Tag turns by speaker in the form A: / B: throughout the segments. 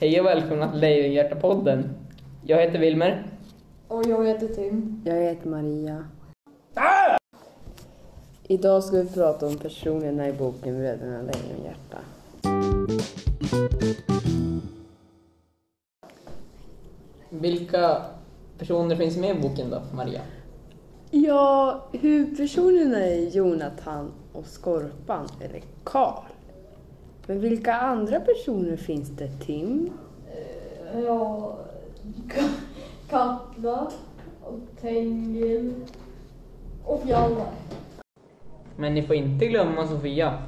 A: Hej och välkomna till Lejonhjärtapodden. Jag heter Wilmer.
B: Och jag heter Tim.
C: Jag heter Maria. Ah! Idag ska vi prata om personerna i boken Bröderna Lejonhjärta.
A: Vilka personer finns med i boken då, Maria?
C: Ja, huvudpersonerna är Jonathan och Skorpan, eller Karl. Men vilka andra personer finns det, Tim?
B: Ja, Ka- Katla och Tengil och Fjallar.
A: Men ni får inte glömma Sofia.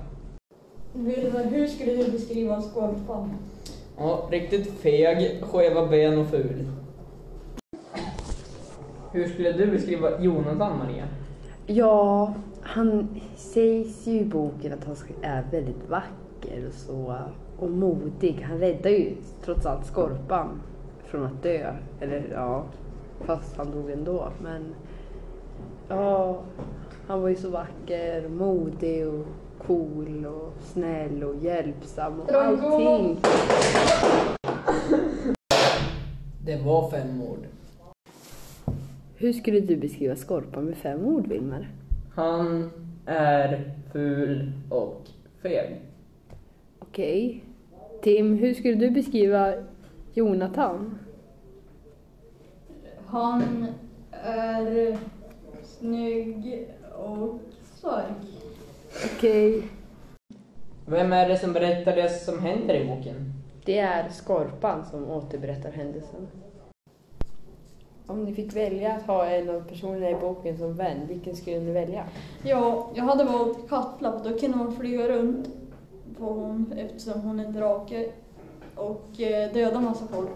B: Wilmer, hur skulle du beskriva en skorpan?
A: Ja, riktigt feg, skeva ben och ful. Hur skulle du beskriva Jonathan, Maria?
C: Ja, han sägs ju i boken att han ska- är väldigt vacker och så. Och modig. Han räddar ju trots allt Skorpan från att dö. Eller ja, fast han dog ändå. Men ja, han var ju så vacker, modig och cool och snäll och hjälpsam och
B: Drongo!
C: allting.
A: Det var fem ord.
C: Hur skulle du beskriva Skorpan med fem ord, Wilmer?
A: Han är ful och feg.
C: Okej. Tim, hur skulle du beskriva Jonathan?
B: Han är snygg och stark.
C: Okej.
A: Vem är det som berättar det som händer i boken?
C: Det är Skorpan som återberättar händelsen. Om ni fick välja att ha en av personerna i boken som vän, vilken skulle ni välja?
B: Ja, jag hade valt Katla för då kunde man flyga runt på hon eftersom hon är drake och eh, döda massa folk.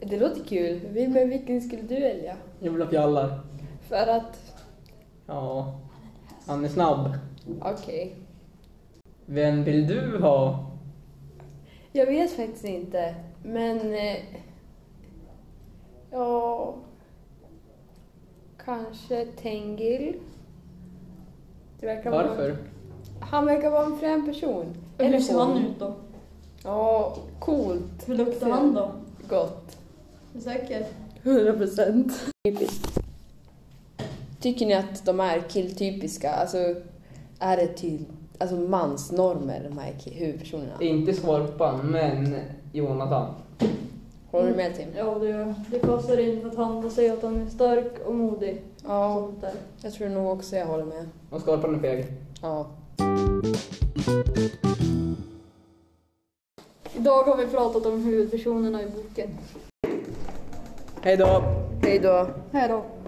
C: Det låter kul. Men vilken skulle du välja?
A: Jag vill ha fjallar.
C: För att...
A: Ja, han är snabb.
C: Okej.
A: Vem vill du ha?
C: Jag vet faktiskt inte, men... eh, Ja... Kanske Tengil. Det verkar vara-
A: Varför?
C: Han verkar vara en frän person.
B: Och hur
C: Eller
B: ser han
C: hon.
B: ut då?
C: Ja, coolt.
B: Hur luktar han då?
C: Gott.
B: Är du säker?
C: 100 procent. Tycker ni att de är killtypiska? Alltså, är det till, alltså mansnormer, de här ki- huvudpersonerna?
A: Inte Skorpan, men Jonathan.
C: Håller du med Tim?
B: Ja, det, det passar in för att han säger att han är stark och modig. Och
C: Ja,
B: sånt där.
C: jag tror nog också jag håller med.
A: Och Skorpan är feg.
C: Ja.
B: Idag har vi pratat om huvudpersonerna i boken.
A: Hej då!
C: Hej då.
B: Hej då!